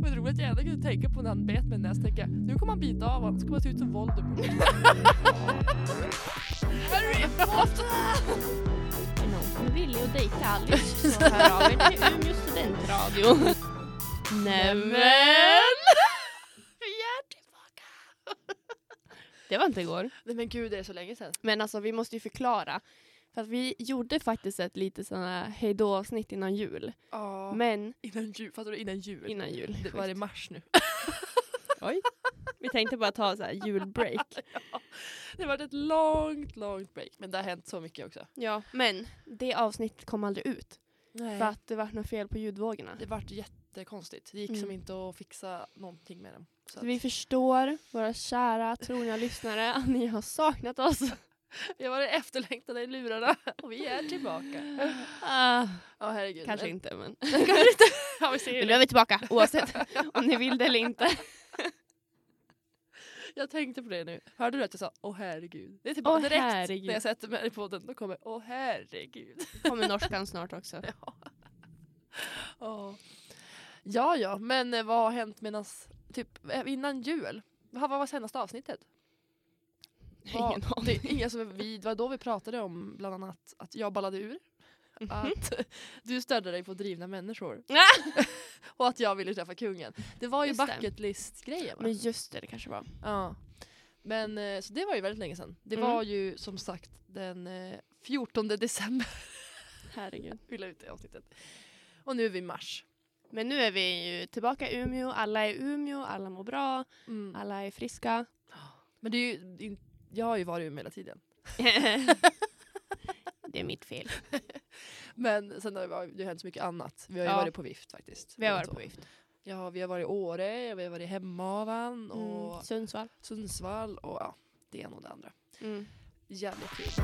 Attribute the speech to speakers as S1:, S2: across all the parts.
S1: Men det roliga är att jag ändå kunde tänka på när han bet mig när jag tänkte nu kommer han bita av honom, så kommer han se ut som Voldemort. Harry Potter!
S2: Är någon som är villig att dejta Alice så hör av er till Umeå studentradio. Nämen!
S1: Vi är tillbaka!
S2: Det var inte igår.
S1: Nej men gud, det är så länge sedan.
S2: Men alltså vi måste ju förklara. För att vi gjorde faktiskt ett lite sån här hejdå-avsnitt innan jul.
S1: Ja.
S2: Men
S1: Innan jul, fattar du? Innan jul.
S2: innan jul.
S1: det, var det mars nu?
S2: Oj. Vi tänkte bara ta så här julbreak.
S1: Det har varit ett långt, långt break. Men det har hänt så mycket också.
S2: Ja, men det avsnittet kom aldrig ut.
S1: Nej.
S2: För att det var något fel på ljudvågorna.
S1: Det vart jättekonstigt. Det gick
S2: Mm.
S1: som inte att fixa någonting med dem. Så
S2: Så
S1: att,
S2: vi förstår, våra kära trogna lyssnare, att ni har saknat oss.
S1: vi har varit efterlängtade i lurarna och vi är tillbaka.
S2: Ah,
S1: Ja herregud.
S2: kanske
S1: Men-
S2: inte, men
S1: kanske inte. ja, vi ser
S2: men
S1: ju
S2: nu är
S1: det.
S2: vi tillbaka oavsett om ni vill det eller inte.
S1: Jag tänkte på det nu. Hörde du att jag sa åh herregud? Det är typ
S2: Åh,
S1: direkt
S2: herregud.
S1: när jag sätter mig i podden. Då kommer åh herregud.
S2: Kommer norskan snart också.
S1: Åh. Ja ja, men eh, vad har hänt medans, typ eh, innan jul? Vad vad var senaste avsnittet? Vad-
S2: Ingen aning.
S1: Det är ingen som är vid. Det var då vi pratade om bland annat att jag ballade ur.
S2: Mhm.
S1: Att du störde dig på drivna människor. och att jag ville träffa kungen. Det var ju
S2: Just det.
S1: bucket list-grejen. va?
S2: Men just det, det kanske var.
S1: Ja. Men eh, så det var ju väldigt länge sedan. Det
S2: Mm.
S1: var ju som sagt den eh, 14 december
S2: Herregud.
S1: vi la ut det avsnittet. Och nu är vi i mars.
S2: Men nu är vi ju tillbaka i Umeå, alla är i Umeå, alla mår bra,
S1: Mm.
S2: alla är friska.
S1: Men det är ju, in- jag har ju varit i Umeå hela tiden.
S2: det är mitt fel.
S1: Men sen har det, varit, det har hänt så mycket annat. Vi har ju
S2: Ja.
S1: varit på vift faktiskt.
S2: Vi har
S1: Båda
S2: varit
S1: två.
S2: på vift.
S1: Ja, vi har varit i Åre, vi har varit i Hemavan och
S2: Mm, Sundsvall.
S1: Sundsvall och ja, det ena och det andra.
S2: Mm.
S1: Jävligt kul.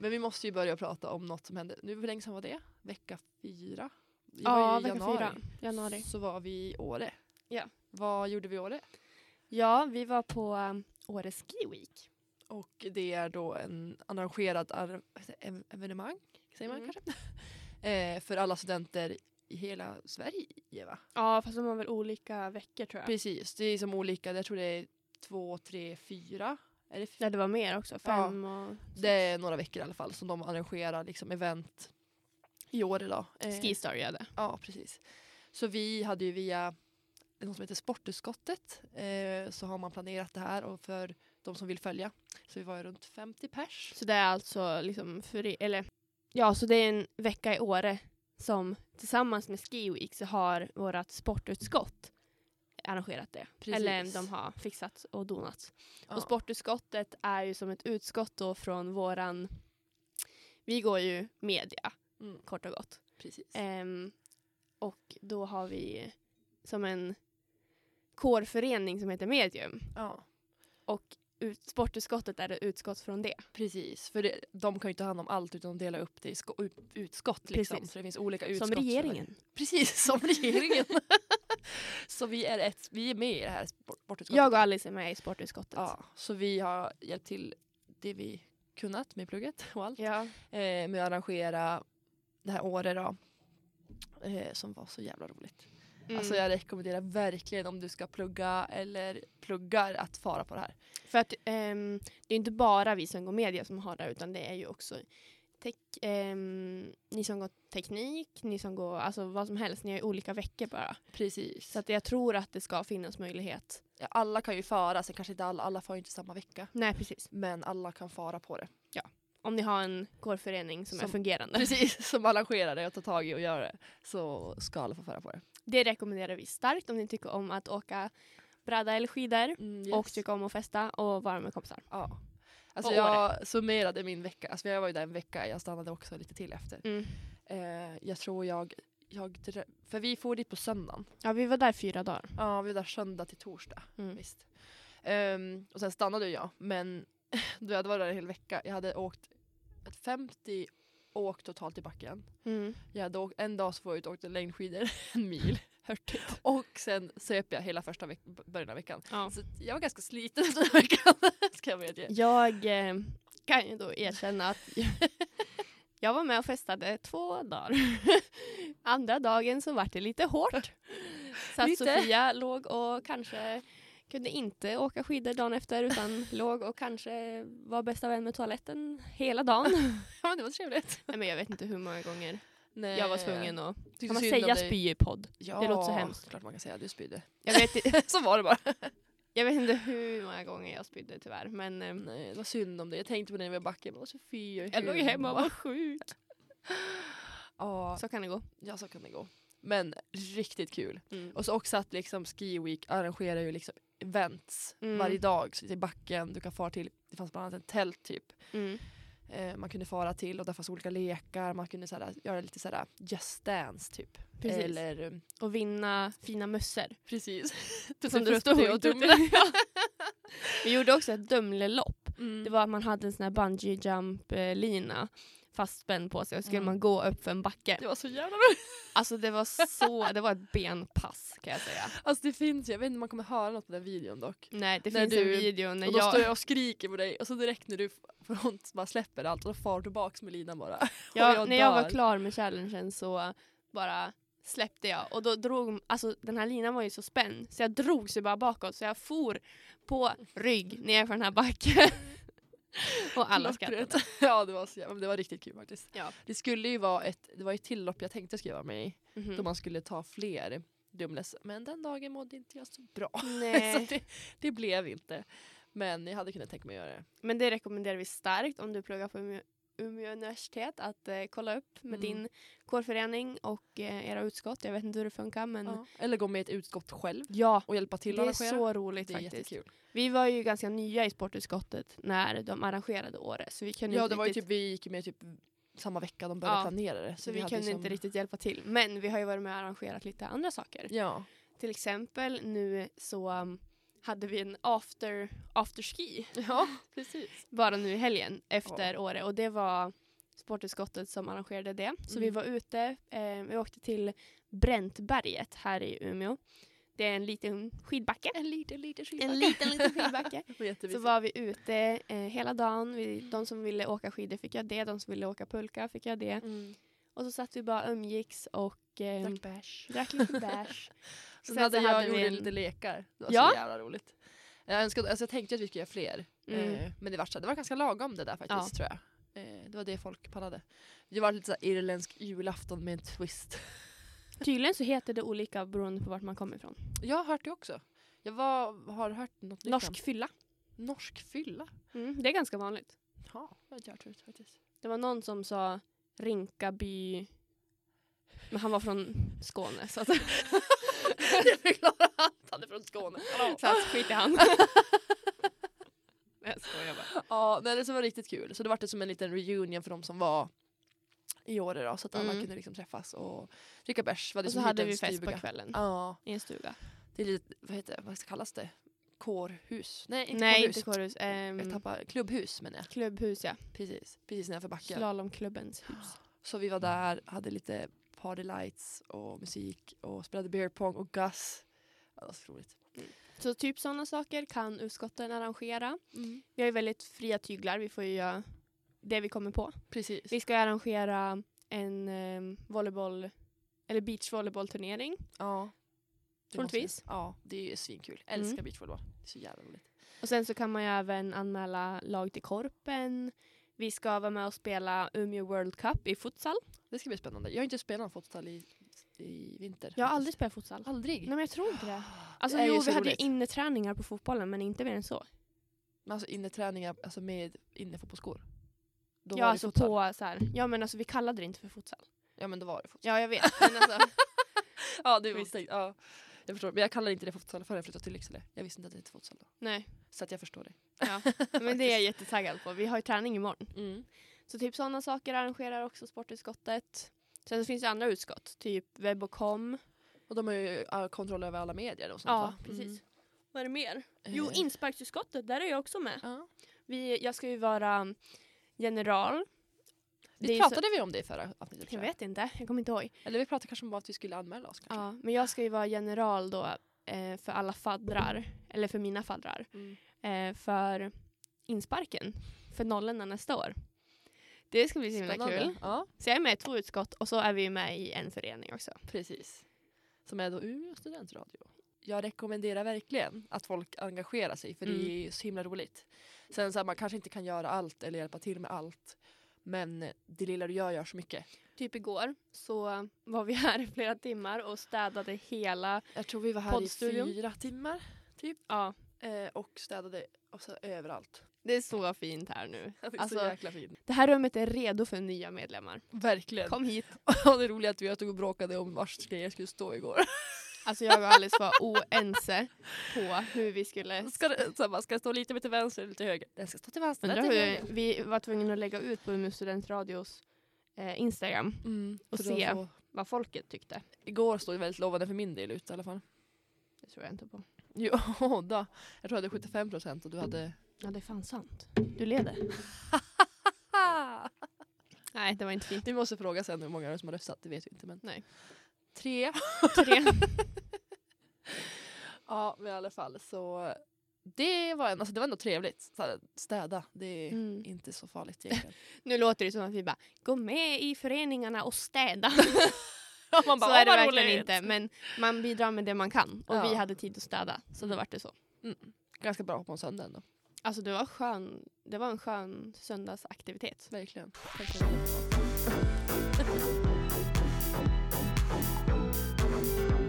S1: Men vi måste ju börja prata om något som hände. Nu, hur länge sedan var det? Vecka fyra? Det var
S2: Ja,
S1: ju i
S2: vecka fyra. Januari.
S1: Så var vi i Åre.
S2: Ja.
S1: Vad gjorde vi i Åre?
S2: Ja, vi var på um, Åre Ski Week.
S1: Och det är då en arrangerad ar- vad heter det? Ev- evenemang, säger man
S2: Mm.
S1: kanske? eh, för alla studenter i hela Sverige va?
S2: Ja, fast de har väl olika veckor tror jag.
S1: Precis, det är som olika, jag tror det är två, tre, fyra. Är det, fy-
S2: Nej, det var mer också. Fem och
S1: det är några veckor i alla fall som de arrangerar liksom event i år idag. Eh,
S2: Skistar gör det.
S1: Ja, precis. Så vi hade ju via något som heter Sportutskottet eh, så har man planerat det här och för de som vill följa. Så vi var ju runt 50 pers.
S2: Så det är alltså liksom för, eller ja, så det är en vecka i Åre som tillsammans med Ski Week så har vårt sportutskott arrangerat det.
S1: Precis.
S2: Eller de har fixat och donat.
S1: Ja.
S2: Och sportutskottet är ju som ett utskott då från våran, vi går ju media
S1: Mm.
S2: kort och gott.
S1: Precis.
S2: Ehm, och då har vi som en kårförening som heter Medium.
S1: Ja,
S2: Och ut, sportutskottet är ett utskott från det.
S1: precis. För det, de kan ju ta hand om allt utan dela upp det i sko- ut- utskott. Liksom.
S2: Precis.
S1: Så det finns olika utskott.
S2: som regeringen.
S1: Precis, som regeringen. så vi är, ett, vi är med i det här sport- sportutskottet.
S2: Jag och Alice är med i sportutskottet.
S1: ja, så vi har hjälpt till det vi kunnat med plugget och allt.
S2: Ja.
S1: Eh, med att arrangera det här året då. Eh, som var så jävla roligt.
S2: Mm.
S1: Alltså jag rekommenderar verkligen om du ska plugga eller pluggar att fara på det här.
S2: För att ehm, det är inte bara vi som går media som har det utan det är ju också tek, ehm, ni som går teknik, ni som går, alltså vad som helst, ni har ju olika veckor bara.
S1: Precis.
S2: Så att jag tror att det ska finnas möjlighet.
S1: ja, alla kan ju fara, sen kanske inte alla, alla far ju inte samma vecka.
S2: Nej precis.
S1: Men alla kan fara på det.
S2: Om ni har en kårförening som,
S1: Som-
S2: är fungerande.
S1: Precis, som arrangerar det och tar tag i och gör det. Så ska alla få fara på det.
S2: Det rekommenderar vi starkt om ni tycker om att åka bräda eller skidor
S1: Mm,
S2: och tycker om att festa och vara med kompisar.
S1: Ja. Alltså
S2: Och
S1: jag summerade min vecka, alltså jag var ju där en vecka, jag stannade också lite till efter.
S2: Mm.
S1: Eh, jag tror jag, jag, drö- för vi får dit på söndagen.
S2: Ja, vi var där fyra dagar.
S1: Ja, vi var där söndag till torsdag.
S2: Mm.
S1: Visst. Ehm, och sen stannade ju jag, men du hade varit där en hel vecka. Jag hade åkt ett 50 åk totalt i backen.
S2: Mm.
S1: Jag hade åkt, en dag så var jag ute och åkte längdskidor en mil. Och sen söp jag hela första veck- början av veckan.
S2: Ja.
S1: Så jag var ganska sliten den här veckan, ska jag medge.
S2: Jag eh, kan ju då erkänna att jag, jag var med och festade två dagar. Andra dagen så var det lite hårt. Så att
S1: Lite.
S2: Sofia låg och kanske kunde inte åka skidor dagen efter utan låg och kanske var bästa vän med toaletten hela dagen.
S1: Ja, det var trevligt.
S2: Nej, men jag vet inte hur många gånger
S1: Nej.
S2: jag var tvungen att...
S1: Tyckte
S2: Kan man
S1: synd om
S2: säga
S1: dig.
S2: spy i podd?
S1: Ja,
S2: Det låter så hemskt.
S1: klart man kan säga du spydde.
S2: Jag vet, i-
S1: så var det bara.
S2: jag vet inte hur många gånger jag spydde tyvärr men ehm,
S1: Nej, det var synd om det. Jag tänkte på det när jag var i backen. Men så fy,
S2: jag låg hemma och var sjuk.
S1: Ja,
S2: Så kan det gå.
S1: ja, så kan det gå. Men riktigt kul.
S2: Mm.
S1: Och så också att liksom Ski Week arrangerar ju liksom events
S2: Mm.
S1: varje dag. Så till backen, du kan fara till, det fanns bland annat en tält typ.
S2: Mm.
S1: Eh, man kunde fara till och där fanns olika lekar. Man kunde såhär, göra lite såhär just dance typ.
S2: Precis.
S1: Eller eh,
S2: Och vinna fina mössor.
S1: precis.
S2: Som det
S1: Tutti
S2: stod.
S1: och typ- Dumle.
S2: Ja. Vi gjorde också ett Dumlelopp.
S1: Mm.
S2: Det var att man hade en sån här bungee jump eh, lina fastspänd på sig och skulle
S1: Mm.
S2: man gå upp för en backe.
S1: det var så jävla roligt.
S2: Alltså det var så, det var ett benpass kan jag säga.
S1: Alltså det finns ju, jag vet inte om man kommer höra något på den videon dock.
S2: Nej det
S1: När
S2: finns
S1: du-
S2: en video när
S1: och då
S2: jag,
S1: står jag och skriker på dig och så direkt när du f- får ont så bara släpper allt och då far du tillbaks med linan bara.
S2: jag,
S1: jag
S2: när jag var
S1: dör.
S2: klar med challengen så bara släppte jag och då drog, alltså den här linan var ju så spänd så jag drog sig bara bakåt så jag for på rygg ner för den här backen. och alla skrattade.
S1: Lockret. Ja det var, så jävla, men det var riktigt kul faktiskt.
S2: Ja.
S1: Det skulle ju vara ett, det var ju ett tillopp jag tänkte skriva mig i.
S2: Mhm.
S1: Då man skulle ta fler Dumles. Men den dagen mådde inte jag så bra. så
S2: Nej.
S1: det, det blev inte. Men jag hade kunnat tänka mig att göra det.
S2: Men det rekommenderar vi starkt om du pluggar på Umeå, Umeå universitet att eh, kolla upp med
S1: Mm.
S2: din kårförening och eh, era utskott. Jag vet inte hur det funkar men ja,
S1: Ja. Eller gå med i ett utskott själv och hjälpa till
S2: det
S1: att
S2: är
S1: arrangera.
S2: så roligt
S1: det är
S2: faktiskt.
S1: jättekul.
S2: Vi var ju ganska nya i sportutskottet när de arrangerade året så vi kunde,
S1: Ja
S2: inte,
S1: det var ju
S2: riktigt,
S1: typ, vi gick ju med typ samma vecka de började
S2: Ja.
S1: planera det.
S2: så vi
S1: hade
S2: kunde
S1: ju som-
S2: inte riktigt hjälpa till. Men vi har ju varit med och arrangerat lite andra saker.
S1: Ja.
S2: Till exempel nu så um, hade vi en after, afterski
S1: ja, precis.
S2: bara nu i helgen efter Åre och det var sportutskottet som arrangerade det. Så
S1: Mm.
S2: vi var ute, eh, vi åkte till Bräntberget här i Umeå. Det är en liten skidbacke.
S1: En liten, liten
S2: En liten, liten skidbacke. Så
S1: skidbacke.
S2: var vi ute eh, hela dagen. Vi, de som ville åka skidor fick jag det, de som ville åka pulka fick jag det.
S1: Mm.
S2: Och så satt vi bara umgicks och eh,
S1: Drack bärs.
S2: drack lite bärs.
S1: Sen,
S2: Sen
S1: hade
S2: så
S1: jag
S2: hade vi
S1: gjorde
S2: en-
S1: lite lekar. Det var
S2: Ja.
S1: så jävla roligt. Jag, önskade, alltså jag tänkte att vi skulle göra fler.
S2: Mm.
S1: Eh, men det var, så- det var ganska lagom det där faktiskt tror jag. Eh, det var det folk pallade. Det var lite så här irländsk julafton med en twist.
S2: Tydligen så heter det olika beroende på vart man kommer ifrån.
S1: Jag har hört det också. Jag var, har hört något
S2: Norsk
S1: liknande.
S2: fylla.
S1: Norsk fylla.
S2: Mm, det är ganska vanligt.
S1: Ja, det har jag inte hört förut faktiskt.
S2: Det var någon som sa Rinkaby. Men han var från Skåne så att,
S1: det förklarar allt. Han är från Skåne. Hallå.
S2: så att skit i han. Nej, jag skojar bara.
S1: Ja, nej, det så var riktigt kul. Så det var det som en liten reunion för de som var i år då, så att alla
S2: Mm.
S1: kunde liksom träffas och dricka bärs. Var det
S2: Och så
S1: som
S2: hade
S1: en
S2: vi fest på
S1: stuga.
S2: kvällen
S1: Ja,
S2: i en stuga.
S1: det är lite, vad heter det, vad kallas det? Kårhus? Nej, inte
S2: Nej
S1: kårhus.
S2: inte kårhus.
S1: jag
S2: Um,
S1: tappar, klubbhus menar jag.
S2: klubbhus ja.
S1: Precis, precis nedanför backen.
S2: Slalomklubbens hus.
S1: Så vi var där, hade lite party lights och musik och spelade beer pong och gas. Ja, det var så roligt.
S2: Så typ sådana saker kan utskotten arrangera. Vi har ju väldigt fria tyglar. Vi får ju göra det vi kommer på.
S1: Precis.
S2: Vi ska ju arrangera en ehm, volleyboll eller beachvolleybollturnering.
S1: Ja. Det måste
S2: Troligtvis.
S1: vi- Ja, det är ju svinkul. Älskar
S2: Mm.
S1: beachvolleyboll. Det är så jävla roligt.
S2: Och sen så kan man ju även anmäla lag till korpen. Vi ska vara med och spela Umeå World Cup i futsal.
S1: Det ska bli spännande. Jag har inte spelat fotboll i, i vinter.
S2: Jag har aldrig
S1: faktiskt.
S2: spelat futsal.
S1: Aldrig?
S2: Nej men jag tror inte det. Alltså
S1: Det är ju
S2: jo,
S1: så
S2: vi hade ju
S1: roligt.
S2: inneträningar på fotbollen men inte mer än så.
S1: Men alltså inneträningar alltså med innefotbollsskor. Då
S2: ja
S1: var
S2: alltså
S1: det futsal.
S2: på så här. Ja men alltså vi kallade det inte för futsal.
S1: Ja men då var det fotboll.
S2: Ja jag vet. Men alltså,
S1: Ja det
S2: var
S1: Ja. Jag förstår. Men jag kallade inte det för fotboll förrän jag flyttade till Lycksele. Jag visste inte att det hette fotboll då.
S2: nej.
S1: Så att jag förstår det.
S2: Ja. Men det är jag jättetaggad på. Vi har ju träning imorgon.
S1: Mm.
S2: Så typ sådana saker arrangerar också sportutskottet. Sen så finns det andra utskott, typ webb och kom.
S1: Och de har ju all kontroll över alla medier och sånt
S2: Ja,
S1: va?
S2: precis.
S1: Mm.
S2: Vad är det mer? Jo,
S1: Eh,
S2: insparksutskottet, där är jag också med.
S1: ja.
S2: Vi, jag ska ju vara general. Det är
S1: Vi
S2: ju så-
S1: pratade vi om det i förra avsnittet?
S2: Jag
S1: tror jag.
S2: vet inte, jag kommer inte ihåg.
S1: Eller vi pratade kanske om att vi skulle anmäla oss. Kanske.
S2: Ja, men jag ska ju vara general då eh, för alla faddrar, eller för mina faddrar,
S1: Mm.
S2: eh, för insparken. för nollorna nästa år. Det ska bli så himla kul.
S1: Ja,
S2: Så jag är med i två utskott och så är vi med i en förening också.
S1: precis. Som är då Umeå studentradio. Jag rekommenderar verkligen att folk engagerar sig för det är ju så himla roligt. Sen så här, man kanske inte kan göra allt eller hjälpa till med allt. Men det lilla du gör gör så mycket.
S2: Typ igår så var vi här i flera timmar och städade hela,
S1: Jag tror vi var här
S2: Poddstudion.
S1: i fyra timmar
S2: ja
S1: eh, och städade och så överallt.
S2: det är så fint här nu.
S1: Det är
S2: Alltså-
S1: så jäkla fint.
S2: Det här rummet är redo för nya medlemmar.
S1: Verkligen.
S2: Kom hit.
S1: Och det roliga är att vi stod och bråkade om vars grejer skulle stå igår.
S2: Alltså jag och Alice var oense på hur vi skulle...
S1: Ska det, så här, bara, ska jag stå lite mer till vänster eller till höger? Den ska stå till vänster.
S2: Undrar
S1: den till höger.
S2: hur vi var tvungna att lägga ut på Umeå studentradios eh, Instagram
S1: Mm,
S2: och
S1: för då
S2: se.
S1: får-
S2: vad folket tyckte.
S1: Igår stod det väldigt lovande för min del ut i alla fall.
S2: Det tror jag inte på.
S1: Jo, då. Jag tror jag hade 75 procent och du hade...
S2: Ja, det är fan sant. Du leder.
S1: Ah!
S2: Nej, det var inte fint.
S1: Vi måste fråga sen hur många som har röstat, det vet vi inte. Men...
S2: Nej.
S1: Tre.
S2: Tre.
S1: Ja, men i alla fall så... Det var, en, alltså det var ändå trevligt. Så här, städa, det är
S2: Mm.
S1: inte så farligt egentligen.
S2: Nu låter det som att vi bara, gå med i föreningarna och städa.
S1: Man
S2: så
S1: "Åh,
S2: är det
S1: vad
S2: verkligen
S1: roligt!"
S2: inte, men man bidrar med det man kan. Och
S1: Ja.
S2: vi hade tid att städa, så då vart det så.
S1: Ganska bra på en söndag ändå.
S2: Alltså det var, skön, det var en skön söndagsaktivitet.
S1: Verkligen.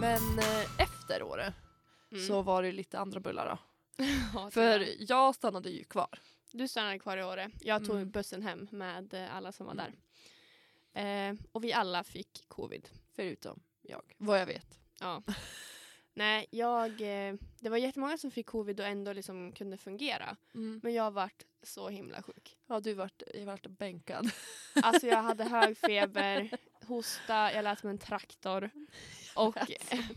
S1: Men eh, efter året
S2: Mm.
S1: så var det lite andra bullar då.
S2: Ja,
S1: För
S2: tyvärr.
S1: jag stannade ju kvar.
S2: Du stannade kvar i Åre. Jag tog
S1: Mm.
S2: bussen hem med eh, alla som var
S1: Mm.
S2: där. Eh, och vi alla fick covid.
S1: Förutom jag. Vad jag vet.
S2: Nej, jag, eh, det var jättemånga som fick covid och ändå liksom kunde fungera. Men jag vart så himla sjuk.
S1: Ja, du vart, jag vart bänkad.
S2: Alltså jag hade hög feber, hosta, jag lät som en traktor. Och,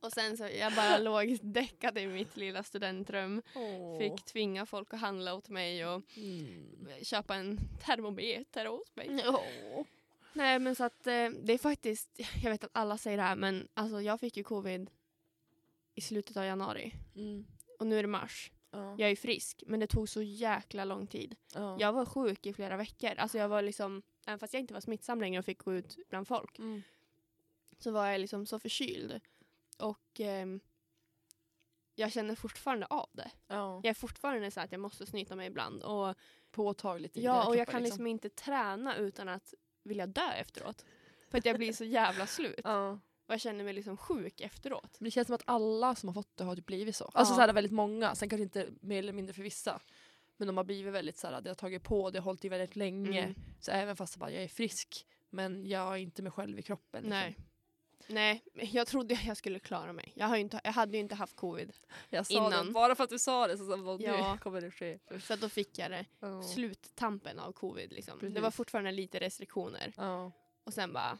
S2: och sen så jag bara låg däckad i mitt lilla studentrum. Fick tvinga folk att handla åt mig och
S1: Mm.
S2: köpa en termometer åt mig. Nej men så att eh, det är faktiskt, jag vet att alla säger det här men alltså jag fick ju covid i slutet av januari.
S1: Mm.
S2: Och nu är det mars.
S1: Ja.
S2: Jag är frisk, men det tog så jäkla lång tid.
S1: Ja.
S2: Jag var sjuk i flera veckor. Alltså jag var liksom, även fast jag inte var smittsam längre och fick gå ut bland folk,
S1: Mm.
S2: så var jag liksom så förkyld. Och ehm, jag känner fortfarande av det.
S1: Ja.
S2: Jag är fortfarande så att jag måste snyta mig ibland. Och,
S1: Påtagligt. i dina
S2: ja, och jag
S1: kroppar,
S2: kan liksom inte träna utan att vilja dö efteråt. För att jag blir så jävla slut.
S1: Ja.
S2: Och jag känner mig liksom sjuk efteråt.
S1: Men det känns som att alla som har fått det har typ blivit så. Alltså
S2: Ja.
S1: så här, väldigt många, sen kanske inte mer eller mindre för vissa. Men de har blivit väldigt så här, det har tagit på, det har hållit i väldigt länge.
S2: Mm.
S1: Så även fast jag bara, jag är frisk, men jag är inte mig själv i kroppen. liksom.
S2: Nej. Nej, jag trodde jag skulle klara mig. Jag, har ju inte, jag hade ju inte haft covid.
S1: Jag sa det,
S2: Innan.
S1: bara för att du sa det så, så bara,
S2: Ja.
S1: nu kommer det ske.
S2: För att då fick jag det
S1: Ja.
S2: sluttampen av covid. Liksom. Det
S1: Precis.
S2: var fortfarande lite restriktioner.
S1: Ja.
S2: Och sen bara...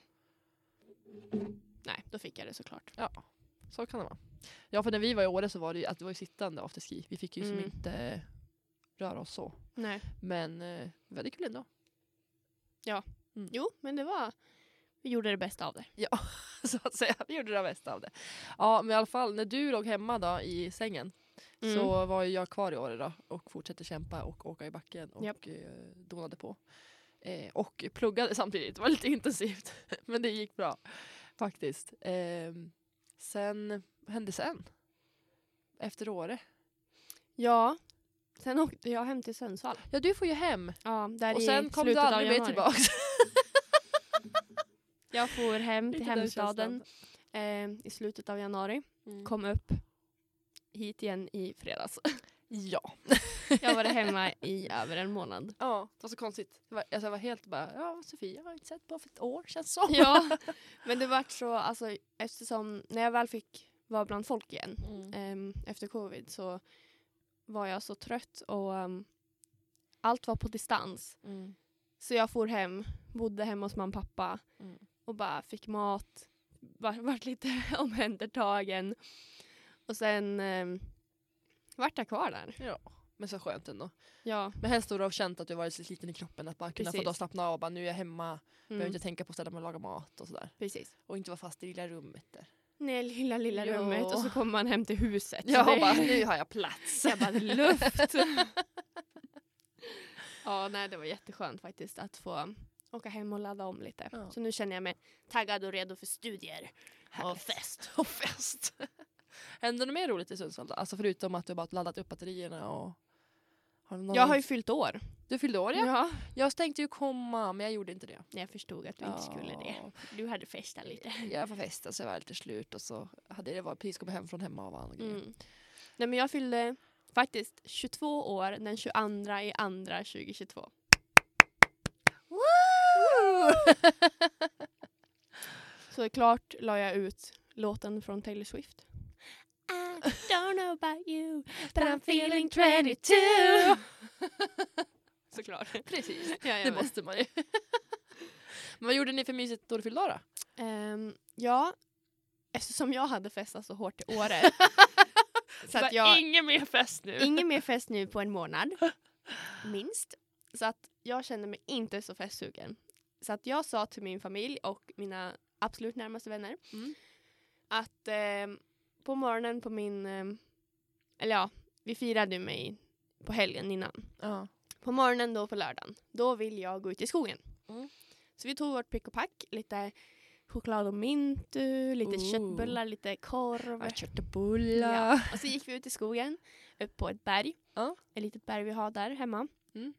S2: Nej, då fick jag det såklart.
S1: Så kan det vara. Ja för när vi var i Åre så var det ju att det var ju sittande afterski. Vi fick ju
S2: Mm.
S1: som inte eh, röra oss så.
S2: Nej.
S1: Men eh, väldigt kul ändå.
S2: Jo, men det var... Vi gjorde det bästa av det.
S1: så att säga, vi gjorde det bästa av det. Ja men i alla fall när du låg hemma då i sängen
S2: Mm.
S1: så var ju jag kvar i Åre då och fortsatte kämpa och åka i backen och
S2: Japp.
S1: eh, donade på. Eh, och pluggade samtidigt, det var lite intensivt men det gick bra faktiskt. Eh, sen, vad hände sen? Efter Åre?
S2: Ja. Sen åkte jag hem till Sundsvall.
S1: Ja du får ju hem
S2: Ja, där
S1: och
S2: i
S1: sen kom du
S2: slutet av
S1: aldrig mer
S2: januari.
S1: tillbaka.
S2: Jag for hem till
S1: Lite den
S2: hemstaden eh, i slutet av januari.
S1: Mm.
S2: Kom upp hit igen i fredags.
S1: Ja.
S2: Jag var hemma i över en månad.
S1: ja, det var så konstigt. Jag var, alltså jag var helt bara, ja Sofia jag har inte sett på för ett år känns så.
S2: Ja, men det vart så, alltså, eftersom när jag väl fick vara bland folk igen
S1: Mm.
S2: ehm, efter covid så var jag så trött och ehm, allt var på distans.
S1: Mm.
S2: Så jag for hem, bodde hemma hos mamma och pappa
S1: Mm.
S2: och bara fick mat, var, vart lite omhändertagen. Och sen ehm, vart jag kvar där.
S1: Men så skönt ändå.
S2: Ja,
S1: Men helst hade du känt att du varit så sliten i kroppen att bara kunna få
S2: Precis.
S1: då slappna av. Bara, nu är jag hemma, behöver
S2: mm,
S1: inte tänka på att ställa mig och laga mat och sådär.
S2: precis.
S1: Och inte vara fast i det lilla rummet där.
S2: ner i lilla, lilla
S1: Ja.
S2: rummet och så kommer man hem till huset.
S1: Jag
S2: Det-
S1: bara, nu har jag plats.
S2: jag bara luft. ja, nej det var jätteskönt faktiskt att få åka hem och ladda om lite.
S1: Ja.
S2: Så nu känner jag mig taggad och redo för studier. Och fest.
S1: Och fest. Hände det mer roligt i Sundsvall då? Alltså förutom att du bara laddat upp batterierna och... Har du någon
S2: Jag har ju fyllt år.
S1: Du fyllde år ja.
S2: Ja.
S1: Jag tänkte ju komma men jag gjorde inte det.
S2: Nej, Jag förstod att du inte skulle det. Du hade festat lite.
S1: Jag var festen så jag var lite slut och så hade det var precis kommit hem från hemma och andra grejer.
S2: Mm. Nej men jag fyllde faktiskt 22 år den 22 i andra 2022.
S1: Woo!
S2: Så klart la jag ut låten från Taylor Swift. I don't know about you but I'm feeling 22 Såklart.
S1: precis, det
S2: Jajamän.
S1: måste man ju. men vad gjorde ni för mysigt då du fyllde år då?
S2: Ehm, ja, eftersom jag hade festat så hårt i Åre. så att jag,
S1: Ingen mer fest nu.
S2: ingen mer fest nu på en månad. Minst. Så att jag kände mig inte så festsugen. Så att jag sa till min familj och mina absolut närmaste vänner
S1: Mm.
S2: att ehm, på morgonen på min... ehm, eller ja, vi firade ju mig på helgen innan.
S1: Ja.
S2: På morgonen då på lördagen, då vill jag gå ut i skogen.
S1: Mm.
S2: Så vi tog vårt pick och pack, lite choklad och mintu, lite
S1: Ooh.
S2: köttbullar, lite korv.
S1: Ja, Köttbullar.
S2: Och så gick vi ut i skogen, upp på ett berg.
S1: Ja.
S2: Ett litet berg vi har där hemma.
S1: Mm.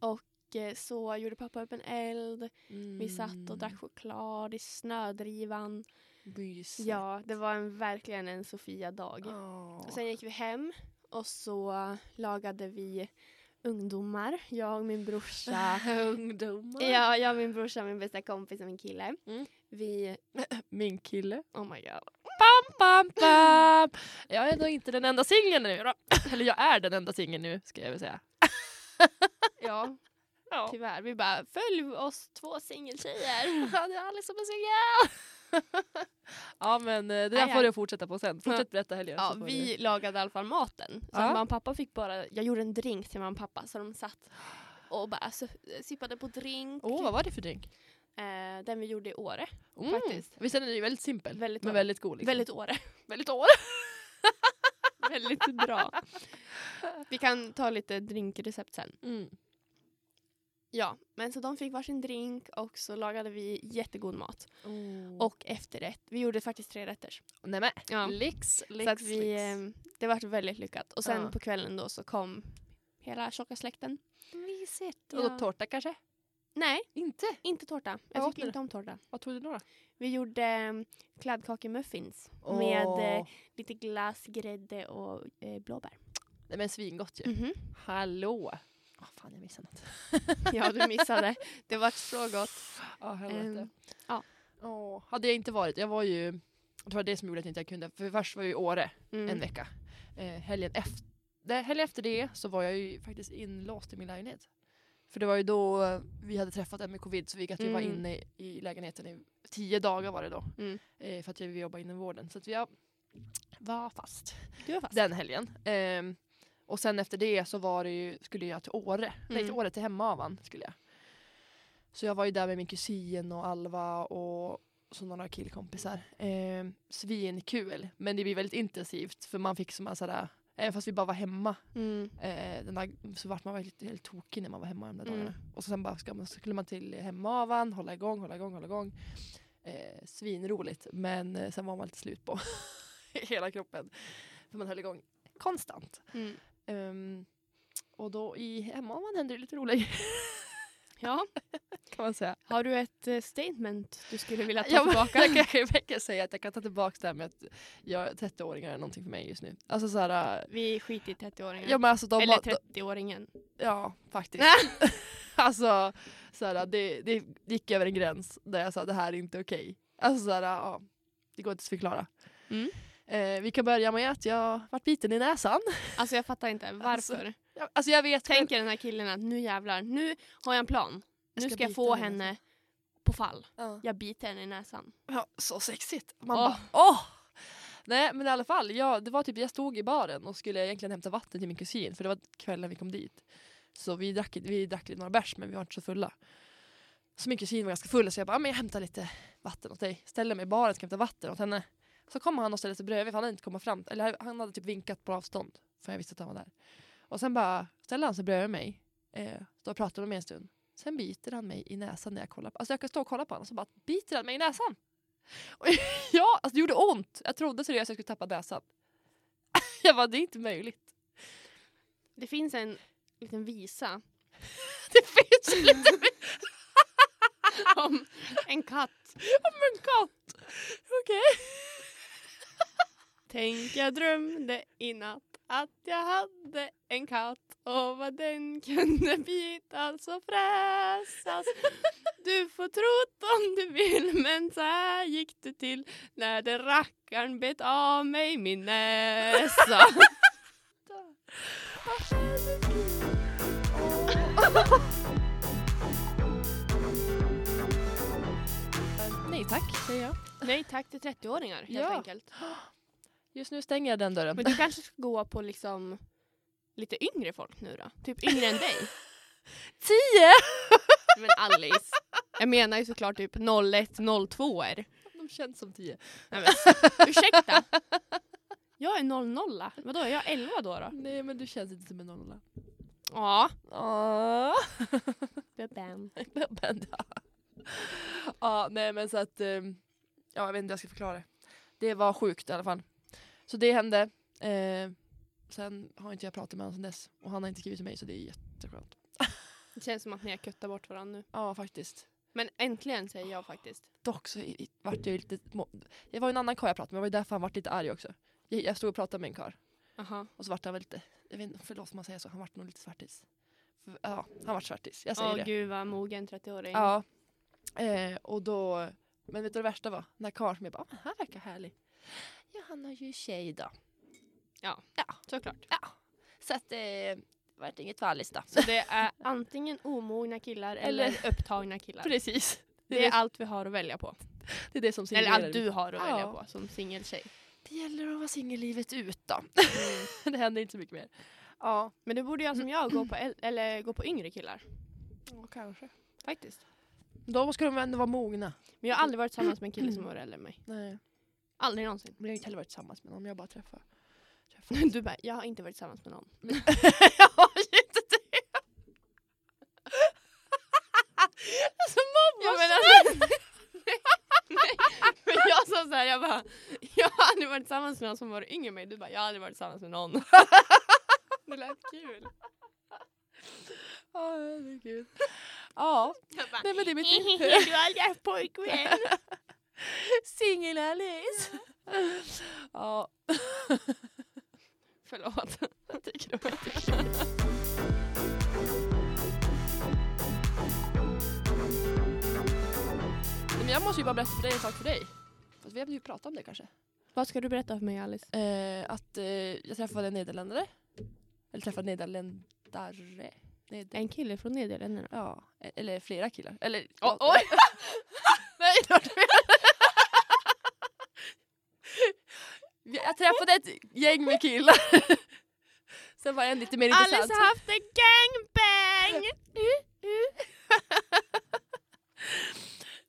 S2: Och eh, så gjorde pappa upp en eld,
S1: Mm.
S2: vi satt och drack choklad i snödrivan.
S1: Mysigt.
S2: Ja, det var en, verkligen en Sofia-dag.
S1: Åh.
S2: Och sen gick vi hem och så lagade vi ungdomar, jag och min brorsa.
S1: Ungdomar.
S2: Ja, jag, min brorsa, min bästa kompis och min kille.
S1: Mm.
S2: Vi,
S1: Min kille.
S2: oh my god.
S1: Pam, pam, pam. Jag är nog inte den enda singeln nu då. Eller jag är den enda singeln nu ska jag väl säga.
S2: Ja,
S1: Ja.
S2: tyvärr. Vi bara, följ oss två singeltjejer.
S1: Ja, det är Alice som är singel! ja men eh, det där
S2: Aj,
S1: får
S2: aj.
S1: du fortsätta på sen. Fortsätt berätta Helena.
S2: Ja,
S1: så får
S2: vi lagade i alla fall maten. Så
S1: Ja.
S2: mamma och pappa fick bara, jag gjorde en drink till mamma och pappa så de satt och bara så, eh, sippade på drink.
S1: du- Åh, vad var det för drink?
S2: eh, den vi gjorde i Åre.
S1: Mm.
S2: Faktiskt.
S1: Visst är den ju väldigt simpel?
S2: Väldigt
S1: men
S2: bra.
S1: väldigt god. Liksom.
S2: Väldigt Åre.
S1: väldigt år.
S2: Väldigt bra. Vi kan ta lite drinkrecept sen.
S1: Mm.
S2: Ja, men så de fick varsin drink och så lagade vi jättegod mat.
S1: Och
S2: Och efterrätt. Vi gjorde faktiskt tre rätter.
S1: nej men,
S2: Oh. Ja.
S1: lyx, lyx,
S2: så att vi,
S1: lyx.
S2: ehm, det var väldigt lyckat. Och sen
S1: Ja.
S2: på kvällen då så kom hela tjocka släkten.
S1: Mysigt.
S2: ja.
S1: Och då tårta kanske?
S2: Nej,
S1: Inte?
S2: inte tårta.
S1: Vad åt
S2: Jag
S1: ni
S2: tycker inte om tårta.
S1: Vad tog du då? då?
S2: Vi gjorde um, kladdkakemuffins med eh,
S1: Åh.
S2: lite glass, grädde och eh, blåbär.
S1: Nej men svingott ju.
S2: Mhm.
S1: Hallå! Åh fan jag missade något.
S2: ja, du missade. Det var så gott.
S1: Ja
S2: helvete. ja.
S1: Ehm, Åh, hade jag inte varit, jag var ju, det var det som gjorde att jag inte kunde, för först var jag i Åre
S2: Mm.
S1: en vecka. Eh, helgen, efter, nej, helgen efter det så var jag ju faktiskt inlåst i min lägenhet. För det var ju då eh, vi hade träffat en med covid så vi, att vi var
S2: Mm.
S1: inne i, i lägenheten i tio dagar var det då.
S2: Mm.
S1: Eh, för att vi jobbade inom vården. Så att jag var fast
S2: Du var fast.
S1: den helgen. Ehm, och sen efter det så var det ju, skulle jag till Åre. Nej, till
S2: Mm.
S1: Åre till hemavan skulle jag. Så jag var ju där med min kusin och Alva och så några killkompisar. Ehm, svinkul. Men det blir väldigt intensivt för man fick som en sådär, även fast vi bara var hemma
S2: Mm.
S1: eh, den där, så vart man väldigt, helt tokig när man var hemma de där
S2: Mm.
S1: dagarna. Och så sen bara ska man, skulle man till hemavan, hålla igång, hålla igång, hålla igång. Eh, svinroligt, men eh, sen var man lite slut på hela kroppen. För man höll igång konstant.
S2: Mm.
S1: Ehm, och då i hemavan hände det lite roligt
S2: Ja,
S1: kan man säga.
S2: har du ett eh, statement du skulle vilja ta
S1: Ja, men-
S2: tillbaka?
S1: Jag kan, jag kan säga att jag kan ta tillbaka det här med att jag, 30-åringar är någonting för mig just nu. Alltså såhär, eh,
S2: Vi skiter i 30-åringen.
S1: ja men alltså de,
S2: Eller
S1: var- de,
S2: 30-åringen.
S1: Ja, faktiskt. alltså, såhär, det, det gick över en gräns där jag sa det här är inte okej. Alltså såhär, ja, det går inte att förklara.
S2: Mm.
S1: Eh, vi kan börja med att jag vart biten i näsan.
S2: Alltså jag fattar inte varför.
S1: Jag- Alltså jag vet
S2: Tänker den här killen att nu jävlar, nu har jag en plan.
S1: Jag
S2: Nu
S1: ska
S2: ska jag
S1: bita
S2: få
S1: henne. alltså.
S2: henne på fall.
S1: Ja.
S2: Jag biter henne i näsan.
S1: Ja, så sexigt. Man
S2: Åh.
S1: bara åh! Nej men i alla fall, jag, det var typ, jag stod i baren och skulle egentligen hämta vatten till min kusin för det var kvällen vi kom dit. Så vi drack, vi drack lite några bärs men vi var inte så fulla. Så min kusin var ganska full så jag bara, "Ja, men jag hämtar lite vatten åt dig. Ställer mig i baren och ska hämta vatten åt henne. Så kom han och ställde sig bredvid för han hade inte kommit fram. Eller han hade typ vinkat på avstånd för jag visste att han var där. Och sen bara ställde han sig bredvid mig. Eh, då pratade vi med en stund. Sen biter han mig i näsan när jag kollar på Alltså jag kan stå och kolla på honom och så bara biter han mig i näsan. Och ja, alltså det gjorde ont. Jag trodde seriöst att jag skulle tappa näsan. jag bara, det är inte möjligt.
S2: Det finns en liten visa
S1: Det finns inte
S2: om en katt.
S1: en katt. Okej.
S2: Tänk jag drömde i natt att jag hade en katt och vad den kunde bitas och fräsas. Du får tro om du vill men så här gick det till när den rackaren bet av mig min näsa.
S1: Eh, Nej tack, säger jag.
S2: Nej tack till 30-åringar helt
S1: Ja.
S2: enkelt.
S1: Just nu stänger jag den dörren.
S2: Men du kanske ska gå på liksom lite yngre folk nu då? Typ yngre än dig?
S1: Tio!
S2: Men Alice, jag menar ju såklart typ 01, 02 er.
S1: De känns som tio.
S2: Nej, men, ursäkta! Jag är 00. Vadå, är jag 11 då? då?
S1: Nej men du känns inte som en nolla.
S2: Ja.
S1: Åh.
S2: Bam.
S1: Men, ja. ja, nej men så att... ehm, Ja, jag vet inte hur jag ska förklara det. Det var sjukt i alla fall. Så det hände. Eh, sen har inte jag pratat med honom sedan dess. Och han har inte skrivit till mig så det är jätteskönt.
S2: Det känns som att ni har köttat bort varandra nu.
S1: Ja, faktiskt.
S2: Men äntligen säger jag faktiskt.
S1: Dock så i- i- vart jag lite... må- Det var ju en annan karl jag pratade med. Det var ju därför han vart lite arg också. Jag, jag stod och pratade med en karl.
S2: Aha.
S1: Och så vart han väl lite... Jag vet inte, förlåt om man säger så. Han vart nog lite svartis. För- Ja, han vart svartis. Jag säger
S2: Åh
S1: det.
S2: gud vad mogen 30-åring.
S1: Ja. Eh, och då, men vet du vad det värsta var? När karln som jag bara, "Ah, han verkar härlig. Ja, han har ju tjej då.
S2: Såklart.
S1: Så att eh, det vart inget för Alice då.
S2: Så det är antingen omogna killar eller,
S1: Eller-
S2: upptagna killar.
S1: Precis.
S2: Det är allt vi har att välja på.
S1: det är det som
S2: Eller
S1: signalerar
S2: allt du har att välja
S1: Ja.
S2: på som singeltjej.
S1: Det gäller att vara singellivet ut då.
S2: Mm.
S1: det händer inte så mycket mer. Ja,
S2: Men du borde göra som jag, gå på, äl- eller gå på yngre killar.
S1: kanske.
S2: Faktiskt.
S1: Då ska de ändå vara mogna.
S2: Men jag har aldrig varit tillsammans med en kille som var äldre än mig.
S1: Nej.
S2: Aldrig någonsin.
S1: Men jag har inte heller varit tillsammans med någon, jag bara träffar.
S2: Du bara, jag har inte varit tillsammans med någon.
S1: jag har ju inte det! alltså mamma
S2: Jag men alltså, nej, men jag sa såhär, jag bara, jag har aldrig varit tillsammans med någon som var yngre än mig. Du bara, jag har aldrig varit tillsammans med någon.
S1: alltså,
S2: Det lät kul.
S1: Åh, herregud. Ja,
S2: Jag bara,
S1: nej men det är mitt liv.
S2: du har aldrig haft pojkvän.
S1: Singel-Alice! ja.
S2: Förlåt. Jag tycker det var jättekul.
S1: Nej, Men jag måste ju bara berätta för dig en sak för dig. Fast vi har ju pratat om det kanske.
S2: Vad ska du berätta för mig Alice?
S1: Eh, att eh, jag träffade en nederländare. Eller träffade nederländare. Neder-
S2: En kille från Nederländerna.
S1: ja, e- eller flera killar. Eller...
S2: Oh, oj!
S1: Nej, det var fel. Jag träffade ett gäng med killar. Sen var en lite mer intressant.
S2: Alice har haft en gangbang!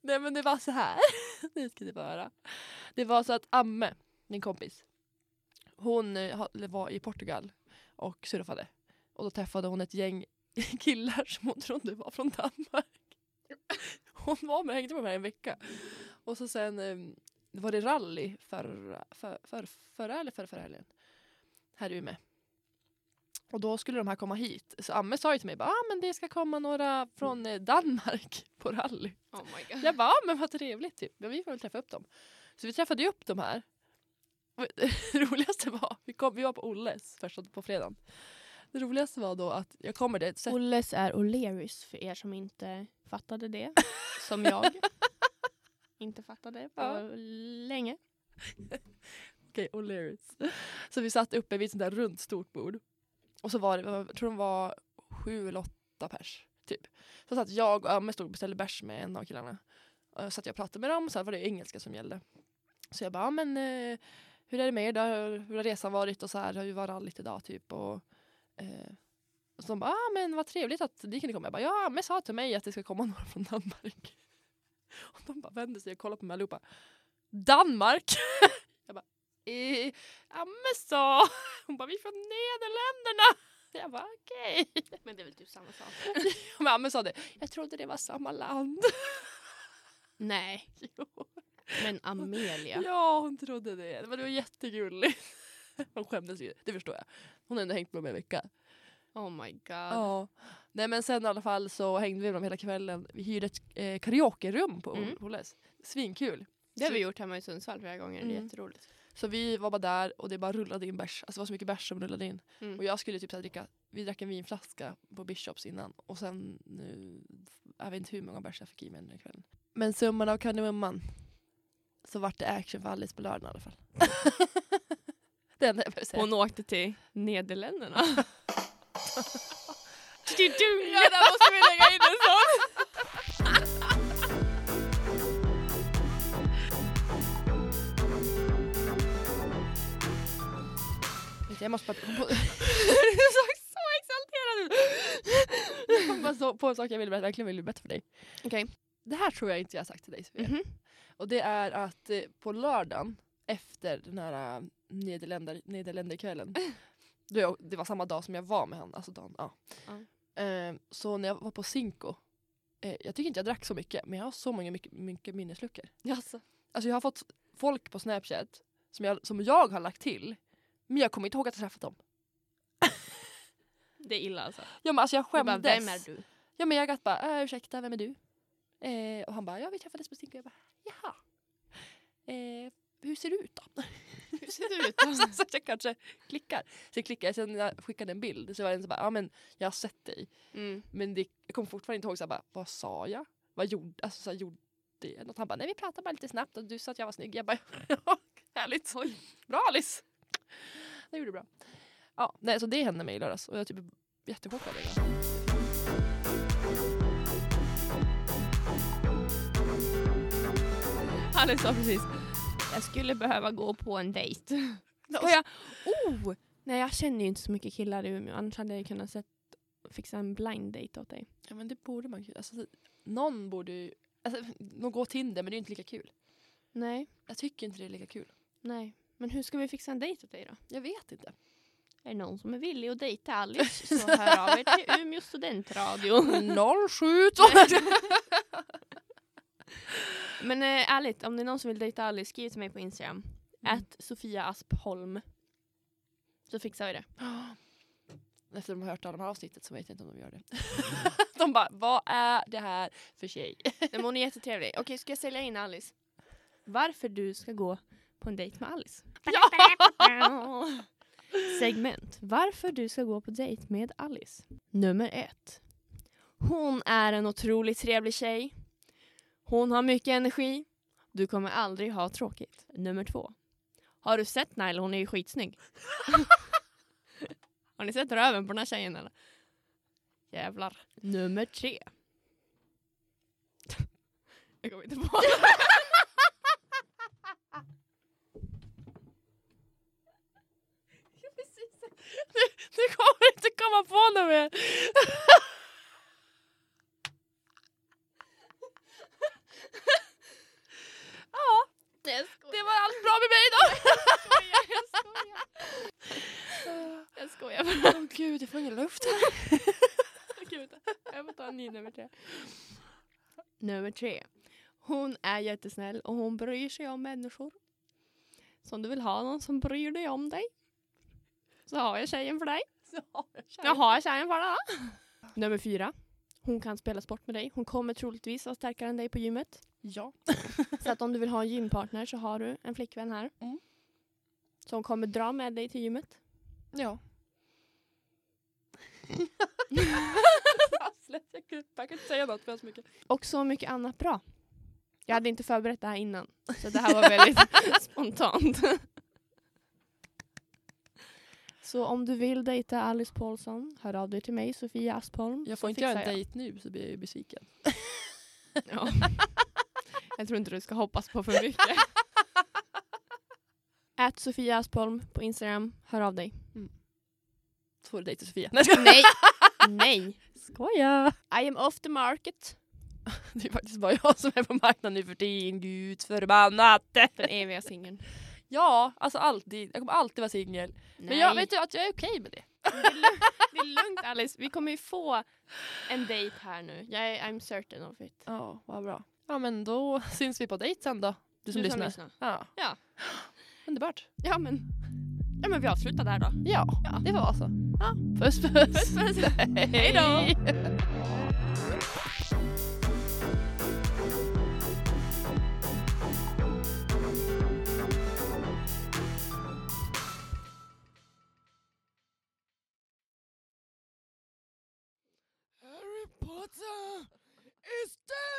S1: Nej men det var så här. nu ska ni få höra. Det var så att Amme, min kompis, hon eh, ha- eller var i Portugal och surfade. Och då träffade hon ett gäng killar som hon trodde var från Danmark. Hon var med, hängde med mig en vecka. Och så sen eh, var det rally förra, för, för, förra eller förra, förra helgen. Här i Umeå. Och då skulle de här komma hit. Så Amme sa ju till mig, bara, ah, men det ska komma några från eh, Danmark på rally.
S2: Oh my god.
S1: Jag bara, "Ja, men vad trevligt typ. Men vi får väl träffa upp dem. Så vi träffade ju upp dem här. Och Det roligaste var, vi, kom, vi var på Olles första på fredagen. Det roligaste var då att jag kommer dit. Så,
S2: Olles är O'Learys för er som inte fattade det. Som jag. inte fattade på
S1: Ja.
S2: länge.
S1: Okej, O'Learys. Så vi satt uppe vid ett sånt där runt stort bord. Och så var det, jag tror de var sju eller åtta pers. Typ. Så satt jag och Amme stod och beställde bärs med en av killarna. Och Så att jag pratade med dem och så var det engelska som gällde. Så jag bara, "Ja, men eh, hur är det med er då? Hur- Hur har resan varit? Och så här, hur var rallyt idag? Typ. Och, eh, och så de bara, ah, men vad trevligt att ni kunde komma. Jag bara, ja, Amme sa till mig att det ska komma några från Danmark. Och de bara vänder sig och kollar på mig allihopa. Danmark? Jag bara, eh, ja men så. Hon bara, vi är från Nederländerna. Jag bara, okej.
S2: Men det är väl typ samma sak?
S1: Men Amme sa det, jag trodde det var samma land.
S2: Nej. Men Amelia.
S1: Ja, hon trodde det. Men det var jättegulligt. Hon skämdes ju, det förstår jag. Hon har ändå hängt med mig en vecka.
S2: Oh my god.
S1: Ja. Nej men sen i alla fall så hängde vi med dem hela kvällen. Vi hyrde ett eh, karaokerum på
S2: Mm.
S1: Oles. Svinkul.
S2: Det har vi gjort hemma i Sundsvall flera gånger. Det är
S1: Mm.
S2: jätteroligt.
S1: Så vi var bara där och det bara rullade in bärs. Alltså det var så mycket bärs som rullade in.
S2: Mm.
S1: Och jag skulle typ så här dricka, vi drack en vinflaska på Bishops innan. Och sen nu, jag vet inte hur många bärs jag fick i mig den här kvällen. Men summan av kardemumman. Så vart det action för Alice på lördagen i alla fall. det enda jag behöver säga.
S2: Hon åkte till Nederländerna.
S1: Ja, där måste vi lägga in en sån. Jag måste bara... Hon på-
S2: du såg så exalterad ut.
S1: jag kom bara så- på en sak jag vill berätta, verkligen vill berätta för dig.
S2: Okej. Mhm.
S1: Det här tror jag inte jag har sagt till dig Sofia. Och det är att eh, på lördagen efter den här eh, Nederländer, Nederländerkvällen. då jag, det var samma dag som jag var med han. Alltså dagen, ja. Eh, så när jag var på Cinco. Eh, jag tycker inte jag drack så mycket men jag har så många mycket, mycket minnesluckor.
S2: Jaså?
S1: Alltså jag har fått folk på Snapchat som jag, som jag har lagt till. Men jag kommer inte ihåg att jag träffat dem.
S2: Det är illa alltså.
S1: Ja, men alltså jag
S2: Du
S1: skämdes.
S2: bara, vem är du?
S1: Ja, men jag gatt bara, äh, ursäkta, vem är du? Eh, och han bara, ja vi träffades på Stinko. Jag bara, jaha. Eh, hur ser du ut då?
S2: Hur ser du ut?
S1: så, så att jag kanske klickar. Så jag klickar, sen när jag skickade en bild så var det en som bara, ja men jag har sett dig.
S2: Mm.
S1: Men det, jag kommer fortfarande inte ihåg, så här, bara, vad sa jag? Vad gjorde, alltså, så här, gjorde jag något? Han bara, nej vi pratade bara lite snabbt och du sa att jag var snygg. Jag bara, ja, härligt. Bra Alice! Det gjorde du bra. Ja, nej, så det hände mig i lördags och jag är typ jättechockad. idag.
S2: Alice sa precis, jag skulle behöva gå på en dejt. Och jag, oh! Nej jag känner ju inte så mycket killar i Umeå, annars hade jag kunnat sett, fixa en blind date åt dig.
S1: Ja men det borde man ju. Alltså, det- någon borde ju... Alltså, någon går Tinder men det är ju inte lika kul.
S2: Nej,
S1: Jag tycker inte det är lika kul.
S2: nej. Men hur ska vi fixa en dejt åt dig då?
S1: Jag vet inte.
S2: Är det någon som är villig att dejta Alice så hör av er till Umeå studentradio.
S1: 07
S2: Men eh, ärligt, om det är någon som vill dejta Alice, skriv till mig på
S1: Mm.
S2: Instagram. Att Sofia Aspholm. Så fixar vi det.
S1: Efter de har hört alla de här avsnittet så vet jag inte om de gör det. de bara, vad är det här för tjej?
S2: Nej, men hon är jättetrevlig. Okej, ska jag sälja in Alice? Varför du ska gå på en dejt med Alice? Segment. Varför du ska gå på dejt med Alice. Nummer ett. Hon är en otroligt trevlig tjej. Hon har mycket energi. Du kommer aldrig ha tråkigt. Nummer två. Har du sett Nile? Hon är ju skitsnygg. har ni sett röven på den här tjejen eller? Jävlar. Nummer tre. Jag kommer inte på
S1: Du kommer inte komma på något mer. ja,
S2: det.
S1: det var allt bra med mig då.
S2: Jag skojar. Jag skojar bara.
S1: Åh gud, jag får ingen luft.
S2: Gud, jag får ta en ny nummer tre. Nummer tre. Hon är jättesnäll och hon bryr sig om människor. Så om du vill ha någon som bryr dig om dig så har jag tjejen för dig. Jag har tjejen för dig. Nummer fyra. Hon kan spela sport med dig. Hon kommer troligtvis vara starkare än dig på gymmet.
S1: Ja.
S2: Så att om du vill ha en gympartner så har du en flickvän här.
S1: Mm.
S2: Som kommer dra med dig till gymmet.
S1: Ja. Släpp, jag kan jag kan inte säga något för jag har så mycket.
S2: Och så mycket annat bra. Jag hade inte förberett det här innan. Så det här var väldigt spontant. så om du vill dejta Alice Paulsson, hör av dig till mig, Sofia Aspholm.
S1: Jag
S2: så
S1: får inte göra en
S2: fixar jag.
S1: dejt nu så blir jag ju besviken.
S2: Ja. Jag tror inte du ska hoppas på för mycket. Ät Sofia Aspholm på Instagram, hör av dig.
S1: Så får du dejta Sofia.
S2: Nej! Nej!
S1: Skoja!
S2: I am off the market.
S1: Det är faktiskt bara jag som är på marknaden nu för tiden, gud förbannat!
S2: Den eviga singeln.
S1: Ja, alltså alltid. Jag kommer alltid vara singel. Men jag vet ju att jag är okej med det.
S2: Det är lugnt Alice, vi kommer ju få en dejt här nu. Jag är I'm certain of it.
S1: Ja, vad bra. Ja, men då syns vi på dejt sen då. Du som lyssnar. Ja.
S2: Ja.
S1: Underbart.
S2: Ja men, ja men vi avslutar där då.
S1: Ja,
S2: Ja.
S1: det var så. Ja. Puss puss.
S2: Puss, puss.
S1: Hej
S2: då.
S3: Harry Potter is dead!